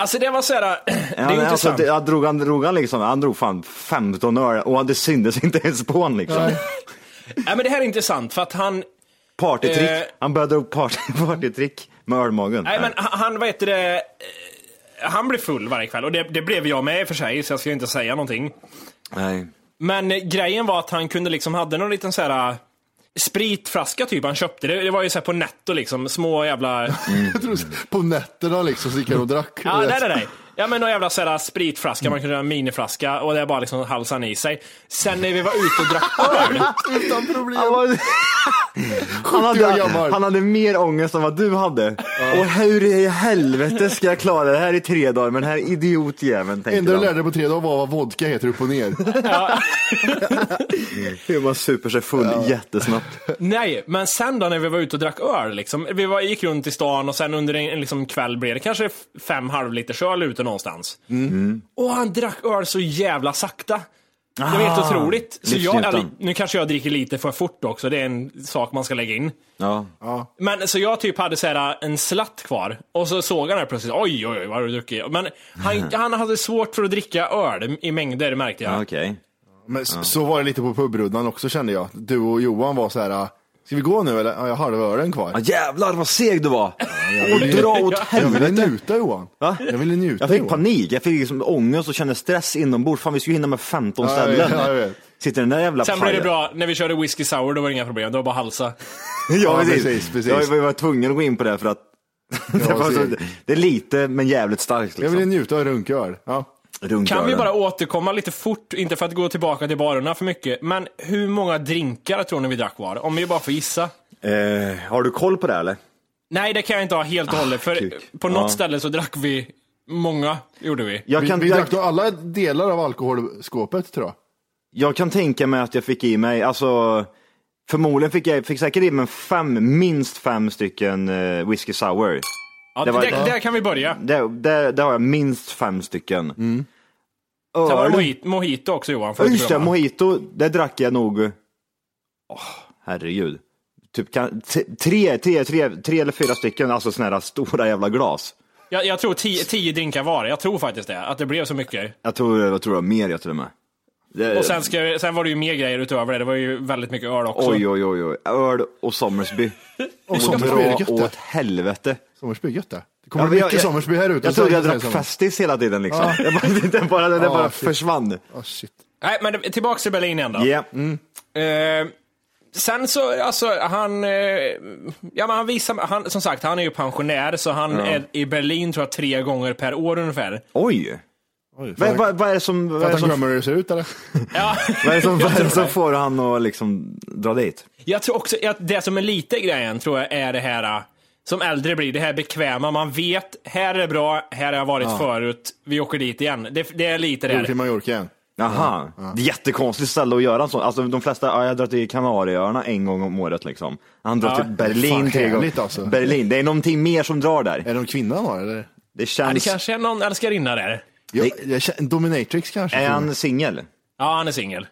[SPEAKER 3] alltså det var så här, det är ju
[SPEAKER 5] han, alltså,
[SPEAKER 3] intressant.
[SPEAKER 5] det, han, drog, han, drog han, liksom, han drog fan 15 öre och det syntes inte ens på honom. Liksom.
[SPEAKER 3] Nej, men det här är intressant, för att han,
[SPEAKER 5] Partytrick.
[SPEAKER 3] Eh.
[SPEAKER 5] Han började dra upp party, partytrick med ölmagen.
[SPEAKER 3] Nej, men han, han- vad heter det, eh, han blev full varje kväll och det, det blev jag med i och för sig, så jag ska inte säga någonting.
[SPEAKER 5] Nej.
[SPEAKER 3] Men eh, grejen var att han kunde liksom, hade någon liten så här eh, spritflaska typ han köpte. Det, det var ju så här på netto liksom, små jävla...
[SPEAKER 2] Jag tror, på nätterna liksom så gick han och drack.
[SPEAKER 3] Ja, nej, nej, nej. Ja, men någon jävla så här spritflaska, man kunde ha en miniflaska och det är bara liksom halsan i sig. Sen när vi var ute och drack öl,
[SPEAKER 2] Utan problem.
[SPEAKER 5] Han, var, han,
[SPEAKER 2] 70 år
[SPEAKER 5] hade,
[SPEAKER 2] gammal.
[SPEAKER 5] han hade mer ångest än vad du hade. Och hur i helvete ska jag klara det här i tre dagar med den här idiotjäveln?
[SPEAKER 2] Det enda
[SPEAKER 5] tänkte
[SPEAKER 2] du
[SPEAKER 5] han.
[SPEAKER 2] lärde dig på tre dagar var vad vodka heter upp och ner.
[SPEAKER 5] Hur man super sig full jättesnabbt.
[SPEAKER 3] Nej, men sen då när vi var ute och drack öl, liksom, vi var, gick runt i stan och sen under en, en liksom, kväll blev det kanske f- fem halvliters öl ute någonstans. Och han drack öl så jävla sakta. Det var helt otroligt. Så jag,
[SPEAKER 5] livsnjutan.
[SPEAKER 3] eller, nu kanske jag dricker lite för fort också, det är en sak man ska lägga in.
[SPEAKER 5] Ja.
[SPEAKER 3] Men så jag typ hade så här, en slatt kvar och så såg han det plötsligt, oj oj oj vad har du druckit? Men han, han hade svårt för att dricka öl i mängder märkte jag.
[SPEAKER 5] Ja, Okej.
[SPEAKER 2] Men s- så var det lite på pubrundan också kände jag. Du och Johan var så här, "Ah, ska vi gå nu eller? Ja, jag har ölen
[SPEAKER 5] Ja,
[SPEAKER 2] kvar.
[SPEAKER 5] jävlar vad seg du var!
[SPEAKER 2] Jag ville,
[SPEAKER 5] Dra åt
[SPEAKER 2] jag ville
[SPEAKER 5] helvete.
[SPEAKER 2] njuta Johan.
[SPEAKER 5] Va?
[SPEAKER 2] Jag ville njuta
[SPEAKER 5] Jag fick
[SPEAKER 2] Johan.
[SPEAKER 5] panik, jag fick liksom ångest och kände stress inombords. Fan vi skulle hinna med 15
[SPEAKER 2] Ja,
[SPEAKER 5] ställen.
[SPEAKER 2] ja, jag vet.
[SPEAKER 5] Sitter den där jävla
[SPEAKER 3] Sen blev det
[SPEAKER 5] pajen.
[SPEAKER 3] bra, när vi körde whisky sour då var det inga problem, det var bara halsa.
[SPEAKER 5] Ja,
[SPEAKER 2] Ja,
[SPEAKER 5] precis.
[SPEAKER 2] precis, precis.
[SPEAKER 5] Jag var- jag var tvungen att gå in på det för att det, var så,
[SPEAKER 2] seg.
[SPEAKER 5] det är lite men jävligt starkt.
[SPEAKER 2] Jag
[SPEAKER 5] Liksom.
[SPEAKER 2] ville njuta av runköl. Ja.
[SPEAKER 3] Kan vi
[SPEAKER 5] Runkölen.
[SPEAKER 3] bara återkomma lite fort, inte för att gå tillbaka till barerna för mycket, men hur många drinkar tror ni vi drack var? Om vi bara får gissa.
[SPEAKER 5] Eh, har du koll på det här, eller?
[SPEAKER 3] Nej, det kan jag inte ha helt och hållet, för
[SPEAKER 5] Ah, kuk.
[SPEAKER 3] på något
[SPEAKER 5] Ja.
[SPEAKER 3] ställe så drack vi många, gjorde vi.
[SPEAKER 5] Jag
[SPEAKER 2] Vi,
[SPEAKER 5] kan,
[SPEAKER 2] vi
[SPEAKER 5] jag,
[SPEAKER 2] drack då alla delar av alkoholskåpet tror jag.
[SPEAKER 5] jag kan tänka mig att jag fick i mig, alltså Förmodligen fick jag fick säkert i mig fem, minst fem stycken eh, whisky sour.
[SPEAKER 3] Ja, där- där kan vi börja.
[SPEAKER 5] Där, där, där har jag minst fem stycken. Mm.
[SPEAKER 3] Sen var det mojito, mojito också Johan. får
[SPEAKER 5] Ja,
[SPEAKER 3] du inte
[SPEAKER 5] Just det,
[SPEAKER 3] glömma.
[SPEAKER 5] mojito, det drack jag nog, åh herregud, typ kan, t- tre, tre, tre, tre eller fyra stycken, alltså såna här stora jävla glas.
[SPEAKER 3] Jag, jag tror tio, tio drinkar var, jag tror faktiskt det. Att det blev så mycket.
[SPEAKER 5] Jag tror, jag tror det var mer jag till och med. Det-
[SPEAKER 3] Och sen, ska, sen var det ju mer grejer utöver det, det var ju väldigt mycket öl också.
[SPEAKER 5] Oj, oj, oj, oj, öl och Sommersby.
[SPEAKER 2] Och
[SPEAKER 5] Och
[SPEAKER 2] Sommersby är
[SPEAKER 5] dra
[SPEAKER 2] gött det.
[SPEAKER 5] åt helvete.
[SPEAKER 2] Sommersby är gött det. Det kommer
[SPEAKER 5] Ja,
[SPEAKER 2] bli
[SPEAKER 5] men jag-
[SPEAKER 2] mycket
[SPEAKER 5] jag-
[SPEAKER 2] Sommersby här ute.
[SPEAKER 5] Jag
[SPEAKER 2] så
[SPEAKER 5] trodde jag
[SPEAKER 2] kan
[SPEAKER 5] drack
[SPEAKER 2] säga samma.
[SPEAKER 5] Festis hela tiden liksom.
[SPEAKER 2] Ja.
[SPEAKER 5] Jag bara, den bara, den
[SPEAKER 2] Ja,
[SPEAKER 5] bara
[SPEAKER 2] shit.
[SPEAKER 5] försvann.
[SPEAKER 2] Ah, shit.
[SPEAKER 3] Nej, men det- tillbaks till Berlin igen då.
[SPEAKER 5] Ja. mm.
[SPEAKER 3] Eh, sen så, alltså han, eh, ja men han visar, han, som sagt han är ju pensionär så han
[SPEAKER 5] Ja.
[SPEAKER 3] är i Berlin tror jag tre gånger per år ungefär.
[SPEAKER 5] Oj! Vad vad- vad är det som, vad
[SPEAKER 2] För
[SPEAKER 5] är det
[SPEAKER 2] att han
[SPEAKER 5] som,
[SPEAKER 2] glömmer hur det ser ut eller?
[SPEAKER 5] vad är det som, vad
[SPEAKER 3] Jag
[SPEAKER 5] är det
[SPEAKER 3] tror
[SPEAKER 5] som
[SPEAKER 3] det.
[SPEAKER 5] får han att liksom dra dit?
[SPEAKER 3] Jag tror också att det som är lite grejen tror jag är det här eh, som äldre blir, det här bekväma, man vet, här är det bra, här har jag varit förut, vi åker dit igen. Det, det är lite det
[SPEAKER 2] Drog till
[SPEAKER 3] här.
[SPEAKER 2] Mallorca igen.
[SPEAKER 5] Jaha, det är jättekonstigt ställe att göra en sån. Alltså de flesta, ja, jag har dragit till Kanarieöarna en gång om året liksom. Han drar
[SPEAKER 3] Ja.
[SPEAKER 5] till Berlin
[SPEAKER 2] Fan,
[SPEAKER 5] tre
[SPEAKER 2] härligt,
[SPEAKER 5] gånger.
[SPEAKER 2] alltså.
[SPEAKER 5] Berlin, det är någonting mer som drar där.
[SPEAKER 2] Är det någon kvinna han har eller?
[SPEAKER 5] Det
[SPEAKER 3] Ja, det
[SPEAKER 5] känns,
[SPEAKER 3] kanske är någon älskarinna där.
[SPEAKER 2] Jag, jag, känner- en dominatrix kanske?
[SPEAKER 5] är han singel?
[SPEAKER 3] Ja, han är singel.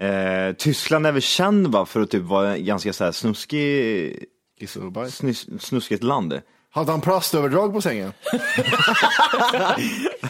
[SPEAKER 5] Eh, Tyskland är väl känd va, för att typ vara en ganska så här snuskig,
[SPEAKER 2] Kiss och bajs.
[SPEAKER 5] snus, snuskigt land.
[SPEAKER 2] Hade han plastöverdrag på sängen?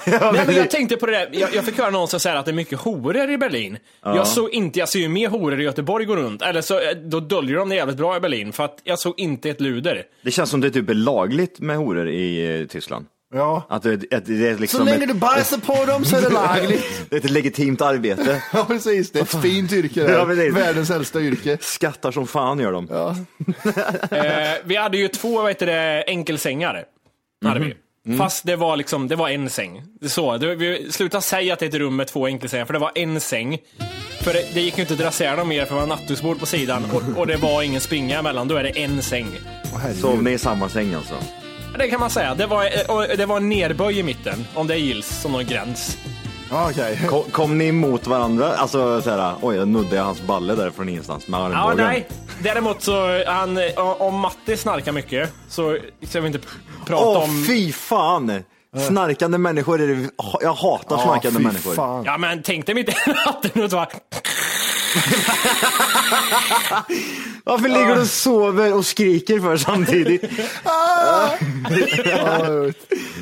[SPEAKER 3] Nej, men jag tänkte på det där. Jag, jag fick höra någon som säger att det är mycket horor i Berlin. Jag såg inte, jag ser ju mer horor i Göteborg gå runt. Eller så, eh, då döljer de det jävligt bra i Berlin, för att jag såg inte ett luder.
[SPEAKER 5] Det känns som det typ är lagligt med horor i eh, Tyskland.
[SPEAKER 2] Ja.
[SPEAKER 5] Att det, att det är liksom
[SPEAKER 2] Så länge
[SPEAKER 5] ett,
[SPEAKER 2] du bajsar på dem så är det lagligt.
[SPEAKER 5] det är ett legitimt arbete.
[SPEAKER 2] Ja precis, det är ett fint yrke det
[SPEAKER 5] Ja,
[SPEAKER 2] här.
[SPEAKER 5] precis.
[SPEAKER 2] Världens äldsta yrke.
[SPEAKER 5] Skattar som fan gör de.
[SPEAKER 2] Ja.
[SPEAKER 3] Eh, vi hade ju två, vad heter det, enkelsängar. Hade vi. Fast det var liksom, det var en säng. Det är Så, det, vi, sluta säga att det är ett rum med två enkelsängar, för det var en säng. För det, det gick ju inte att drasera dem mer, för det var nattduksbord på sidan och, och det var ingen springa emellan, då är det en säng.
[SPEAKER 5] Sov ni i samma säng alltså?
[SPEAKER 3] Det kan man säga. Det var, eh, och det var en nerböj i mitten, om det gills som någon gräns.
[SPEAKER 2] Ja, Okej.
[SPEAKER 5] Kom, kom ni emot varandra? Alltså såhär, oj, jag nuddade hans balle där från ingenstans med
[SPEAKER 3] Ja,
[SPEAKER 5] armbågen.
[SPEAKER 3] nej. Däremot så, han, eh, om Matti snarkar mycket så ska vi inte prata
[SPEAKER 5] Åh,
[SPEAKER 3] om...
[SPEAKER 5] fy fan! Snarkande människor är det, jag hatar snarkande
[SPEAKER 2] fy
[SPEAKER 5] människor.
[SPEAKER 2] Fan.
[SPEAKER 3] Ja, men tänk dig mitt i natten och så bara...
[SPEAKER 5] Varför ligger du och sover och skriker för samtidigt? Ah!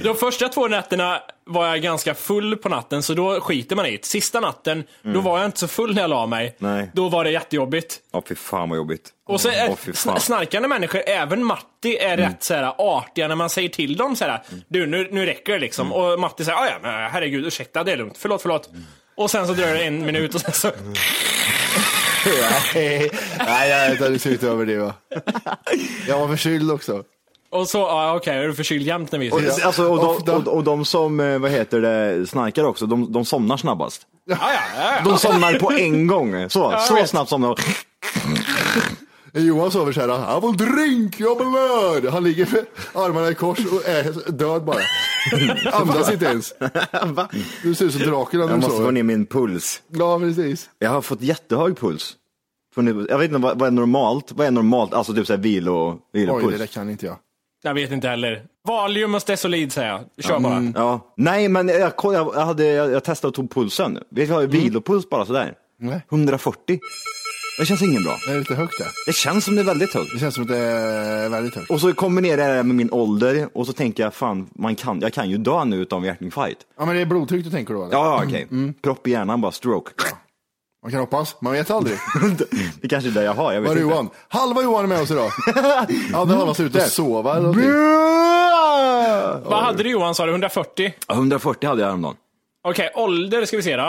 [SPEAKER 3] De första två nätterna var jag ganska full på natten, så då skiter man i det. Sista natten, då var jag inte så full när jag la mig.
[SPEAKER 5] Mm. Nej.
[SPEAKER 3] Då var det jättejobbigt.
[SPEAKER 5] Ja, fy fan vad jobbigt.
[SPEAKER 3] Och så är,
[SPEAKER 5] Åh, fy fan. Mm.
[SPEAKER 3] sn- snarkande människor, även Matti, är rätt så här, artiga när man säger till dem så här, du nu, nu räcker det liksom.
[SPEAKER 5] Mm.
[SPEAKER 3] Och Matti säger, "Ah, ja men herregud ursäkta det är lugnt, förlåt förlåt. Och sen så dröjer det en minut och sen så,
[SPEAKER 5] Mm.
[SPEAKER 2] Nej, nej, jag hade slutat överdriva. Jag var förkyld också.
[SPEAKER 3] och så, ja okej, är du förkyld jämt när vi
[SPEAKER 5] Och,
[SPEAKER 3] ses?
[SPEAKER 5] alltså, och, de,
[SPEAKER 2] ofta.
[SPEAKER 5] och, och de som, eh, vad heter det, snarkar också, de, de somnar snabbast.
[SPEAKER 3] Ja, ja, ja, ja.
[SPEAKER 5] De somnar på en gång. Så,
[SPEAKER 3] jag
[SPEAKER 5] så
[SPEAKER 3] vet.
[SPEAKER 5] snabbt somnar de.
[SPEAKER 2] Johan sover så här, I will drink, jag blöd. Han ligger med armarna i kors och är död bara. Andas inte ens. Du ser ut som Dracula när
[SPEAKER 5] Jag
[SPEAKER 2] du
[SPEAKER 5] måste få
[SPEAKER 2] sover.
[SPEAKER 5] ner min puls.
[SPEAKER 2] Ja, precis.
[SPEAKER 5] Jag har fått jättehög puls. Får ni- Jag vet inte, vad, vad är normalt? Vad är normalt? Alltså typ såhär vilo,
[SPEAKER 2] Oj,
[SPEAKER 5] vilopuls.
[SPEAKER 2] det där kan inte jag.
[SPEAKER 3] Jag vet inte heller. Valium och Stesolid säger jag, kör bara.
[SPEAKER 5] ja. Nej, men jag, koll- jag, hade, jag, jag testade och tog pulsen. Vet du, jag har ju vilopuls bara sådär.
[SPEAKER 2] Mm. Nej.
[SPEAKER 5] 140. Det känns ingen bra.
[SPEAKER 2] Det är lite högt där.
[SPEAKER 5] Det känns som det är väldigt högt.
[SPEAKER 2] Det känns som att det är väldigt högt.
[SPEAKER 5] Och så kombinerar jag det med min ålder och så tänker jag fan, man kan, jag kan ju dö nu utav hjärtinfarkt.
[SPEAKER 2] Ja, men det är blodtryck du tänker då? Eller?
[SPEAKER 5] Ja, ja, okej.
[SPEAKER 2] Mm.
[SPEAKER 5] Propp i hjärnan bara, stroke.
[SPEAKER 2] Man kan hoppas, man vet aldrig.
[SPEAKER 5] Det kanske är det jag har, jag vet
[SPEAKER 2] Var är
[SPEAKER 5] inte.
[SPEAKER 2] Johan? Halva Johan är med oss idag. Ja, det har han ute och sova eller någonting.
[SPEAKER 5] Bra!
[SPEAKER 3] Vad hade du Johan, sa du? 140?
[SPEAKER 5] 140 hade jag häromdagen.
[SPEAKER 3] Okej, ålder ska vi se då.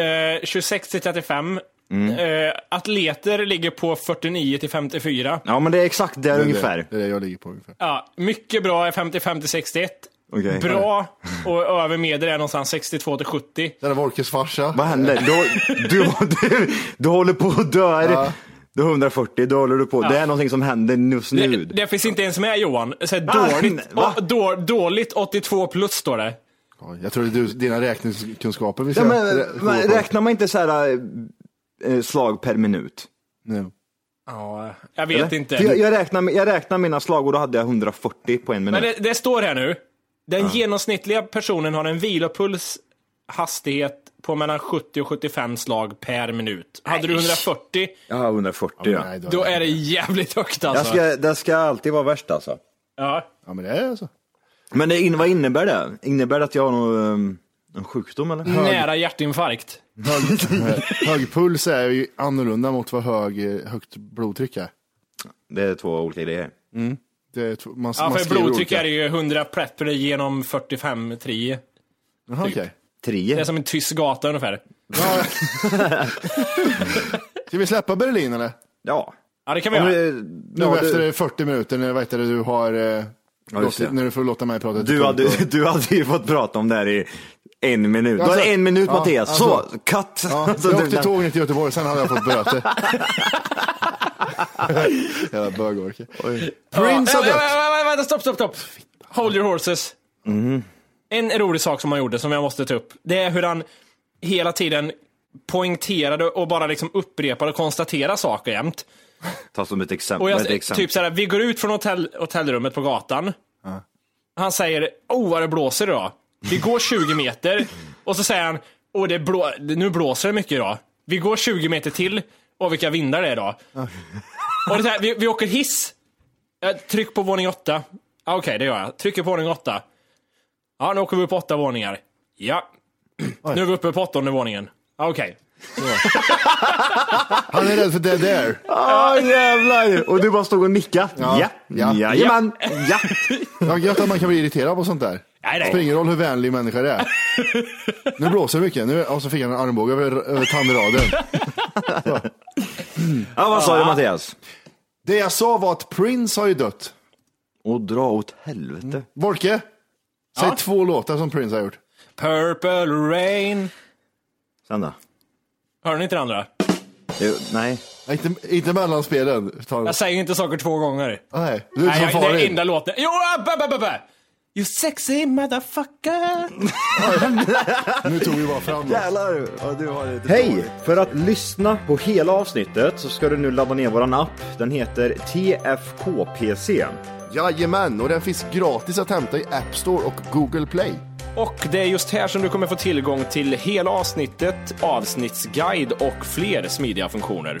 [SPEAKER 3] Eh, 26 till 35.
[SPEAKER 5] Mm.
[SPEAKER 3] Eh, atleter ligger på 49 till 54.
[SPEAKER 5] Ja, men det är exakt där ungefär.
[SPEAKER 2] Det är det jag ligger på ungefär.
[SPEAKER 3] Ja, mycket bra är 55 till 61.
[SPEAKER 5] Okej.
[SPEAKER 3] Bra och över medel är någonstans 62 till 70.
[SPEAKER 2] Det är Wolkes farsa.
[SPEAKER 5] Vad händer? Du, du, du, du håller på och dör. Du är 140, då håller du på. Det är någonting som händer just
[SPEAKER 3] Det,
[SPEAKER 5] nu.
[SPEAKER 3] det finns inte ens med Johan. Så här,
[SPEAKER 5] Va?
[SPEAKER 3] dåligt,
[SPEAKER 5] Va?
[SPEAKER 3] å- då, dåligt 82 plus står det.
[SPEAKER 2] Ja, Jag tror du, dina räkningskunskaper vill
[SPEAKER 5] Ja,
[SPEAKER 2] säga.
[SPEAKER 5] men, men räknar man inte så här eh, slag per eh, minut?
[SPEAKER 2] Nej.
[SPEAKER 3] Ja, jag vet
[SPEAKER 5] Eller?
[SPEAKER 3] inte.
[SPEAKER 5] För Jag, jag, räknar, jag räknar mina slagord, då hade jag 140 på en minut.
[SPEAKER 3] Men det, det står här nu. Den genomsnittliga personen har en vilopuls hastighet på mellan 70 och 75 slag per minut. Hade du 140,
[SPEAKER 5] Ja, 140 ja.
[SPEAKER 3] då är det jävligt högt
[SPEAKER 5] jag
[SPEAKER 3] alltså.
[SPEAKER 5] ska, det ska alltid vara värst alltså.
[SPEAKER 3] Ja.
[SPEAKER 2] Ja, men det är så.
[SPEAKER 5] Men det, in- vad innebär det? Innebär det att jag har någon, ehm, en sjukdom eller?
[SPEAKER 3] Nära hjärtinfarkt.
[SPEAKER 2] Hög puls är ju annorlunda mot vad hög, eh, högt blodtryck är.
[SPEAKER 5] Det är två olika idéer.
[SPEAKER 2] Det är, t- man,
[SPEAKER 3] Ja,
[SPEAKER 2] man
[SPEAKER 3] för
[SPEAKER 2] skriver
[SPEAKER 3] blodtryck
[SPEAKER 2] olika.
[SPEAKER 3] är det ju 100 prepper genom 45 tri.
[SPEAKER 2] Jaha,
[SPEAKER 3] typ.
[SPEAKER 2] okej.
[SPEAKER 3] Det är
[SPEAKER 5] Trio.
[SPEAKER 3] som en tysk gata ungefär.
[SPEAKER 2] Ska vi släppa Berlin eller?
[SPEAKER 5] Ja.
[SPEAKER 3] Ja, det kan vi
[SPEAKER 5] Om,
[SPEAKER 3] göra.
[SPEAKER 5] eh,
[SPEAKER 2] Nu
[SPEAKER 5] ja,
[SPEAKER 2] efter
[SPEAKER 5] du,
[SPEAKER 2] 40 minuter när, vad heter det, du har... eh,
[SPEAKER 5] just
[SPEAKER 2] låtit-
[SPEAKER 5] det.
[SPEAKER 2] när du får låta mig prata. till
[SPEAKER 5] du,
[SPEAKER 2] punkt
[SPEAKER 5] hade,
[SPEAKER 2] och-
[SPEAKER 5] du hade ju fått prata om det här i en minut. Du
[SPEAKER 2] Alltså,
[SPEAKER 5] har en minut
[SPEAKER 2] ja,
[SPEAKER 5] Mattias,
[SPEAKER 2] alltså.
[SPEAKER 5] så cut!
[SPEAKER 2] Ja,
[SPEAKER 5] Så
[SPEAKER 2] jag
[SPEAKER 5] du-
[SPEAKER 2] åkte tåg ner till Göteborg, sen hade jag fått böter. Jävla bögorke. Prince
[SPEAKER 3] ja,
[SPEAKER 2] har
[SPEAKER 3] ja,
[SPEAKER 2] dött.
[SPEAKER 3] ja, ja, Vänta, stopp, stopp, stopp. Hold your horses. En rolig sak som han gjorde, som jag måste ta upp, det är hur han hela tiden poängterade och bara liksom upprepade och konstaterade saker jämt.
[SPEAKER 5] Ta som ett exempel.
[SPEAKER 3] Och
[SPEAKER 5] ett
[SPEAKER 3] jag,
[SPEAKER 5] exempel.
[SPEAKER 3] typ såhär, vi går ut från hotell, hotellrummet på gatan. Han säger, oh vad det blåser idag. Vi går 20 meter och så säger han, oh, det blå, nu blåser det mycket idag. Vi går 20 meter till och vilka vindar det är idag. och det är så här, vi, vi åker hiss. Eh, Tryck på våning åtta. Ah, Okej, det gör jag. Trycker på våning åtta. Ja, nu åker vi upp åtta våningar. Ja. Nu är vi uppe på åttonde våningen. Ah, Okej.
[SPEAKER 2] Han är rädd för dead air.
[SPEAKER 5] Ah, jävlar! Och du bara stod och nickade.
[SPEAKER 2] Ja.
[SPEAKER 5] Ja,
[SPEAKER 2] Ja.
[SPEAKER 5] ja. jajamän, ja.
[SPEAKER 2] Ja, gött att man kan bli irriterad på sånt där.
[SPEAKER 3] Nej,
[SPEAKER 2] Det
[SPEAKER 3] nej.
[SPEAKER 2] spelar ingen roll hur vänlig människa det är. Nu blåser det mycket. Nu, och så fick han en armbåge över, över tandraden.
[SPEAKER 5] ja. Vad sa du Mattias?
[SPEAKER 2] Det jag sa var att Prince har ju dött.
[SPEAKER 5] Och dra åt helvete.
[SPEAKER 2] Borke, säg två låtar som Prince har gjort.
[SPEAKER 3] Purple rain.
[SPEAKER 5] Sen då?
[SPEAKER 3] Hör ni inte det andra?
[SPEAKER 5] Jo, nej.
[SPEAKER 2] Nej, Inte, inte mellanspelen. Ta,
[SPEAKER 3] Jag säger inte saker två gånger.
[SPEAKER 2] nej, du är
[SPEAKER 3] Nej,
[SPEAKER 2] som
[SPEAKER 3] jag, det är
[SPEAKER 2] Farin.
[SPEAKER 3] enda låten. Jo, abba, abba, abba. You sexy motherfucker.
[SPEAKER 2] Nu tog vi bara fram det.
[SPEAKER 5] Jävlar! Ja, du har det Hej! För att lyssna på hela avsnittet så ska du nu ladda ner våran app. Den heter TFKPC.
[SPEAKER 2] Jajamän, och den finns gratis att hämta i App Store och Google Play.
[SPEAKER 3] Och det är just här som du kommer få tillgång till hela avsnittet, avsnittsguide och fler smidiga funktioner.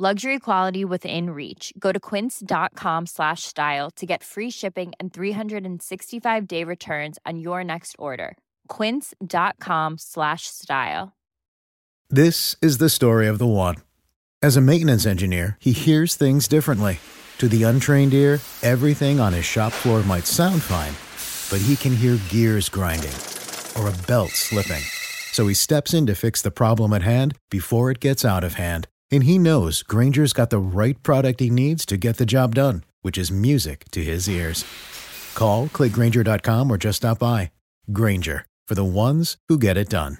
[SPEAKER 8] Luxury quality within reach. Go to quince.com slash style to get free shipping and 365 day returns on your next order. Quince.com slash style.
[SPEAKER 9] This is the story of the one. As a maintenance engineer, he hears things differently. To the untrained ear, everything on his shop floor might sound fine, but he can hear gears grinding or a belt slipping. So he steps in to fix the problem at hand before it gets out of hand. And he knows Granger's got the right product he needs to get the job done, which is music to his ears. Call, click Granger.com, or just stop by. Granger, for the ones who get it done.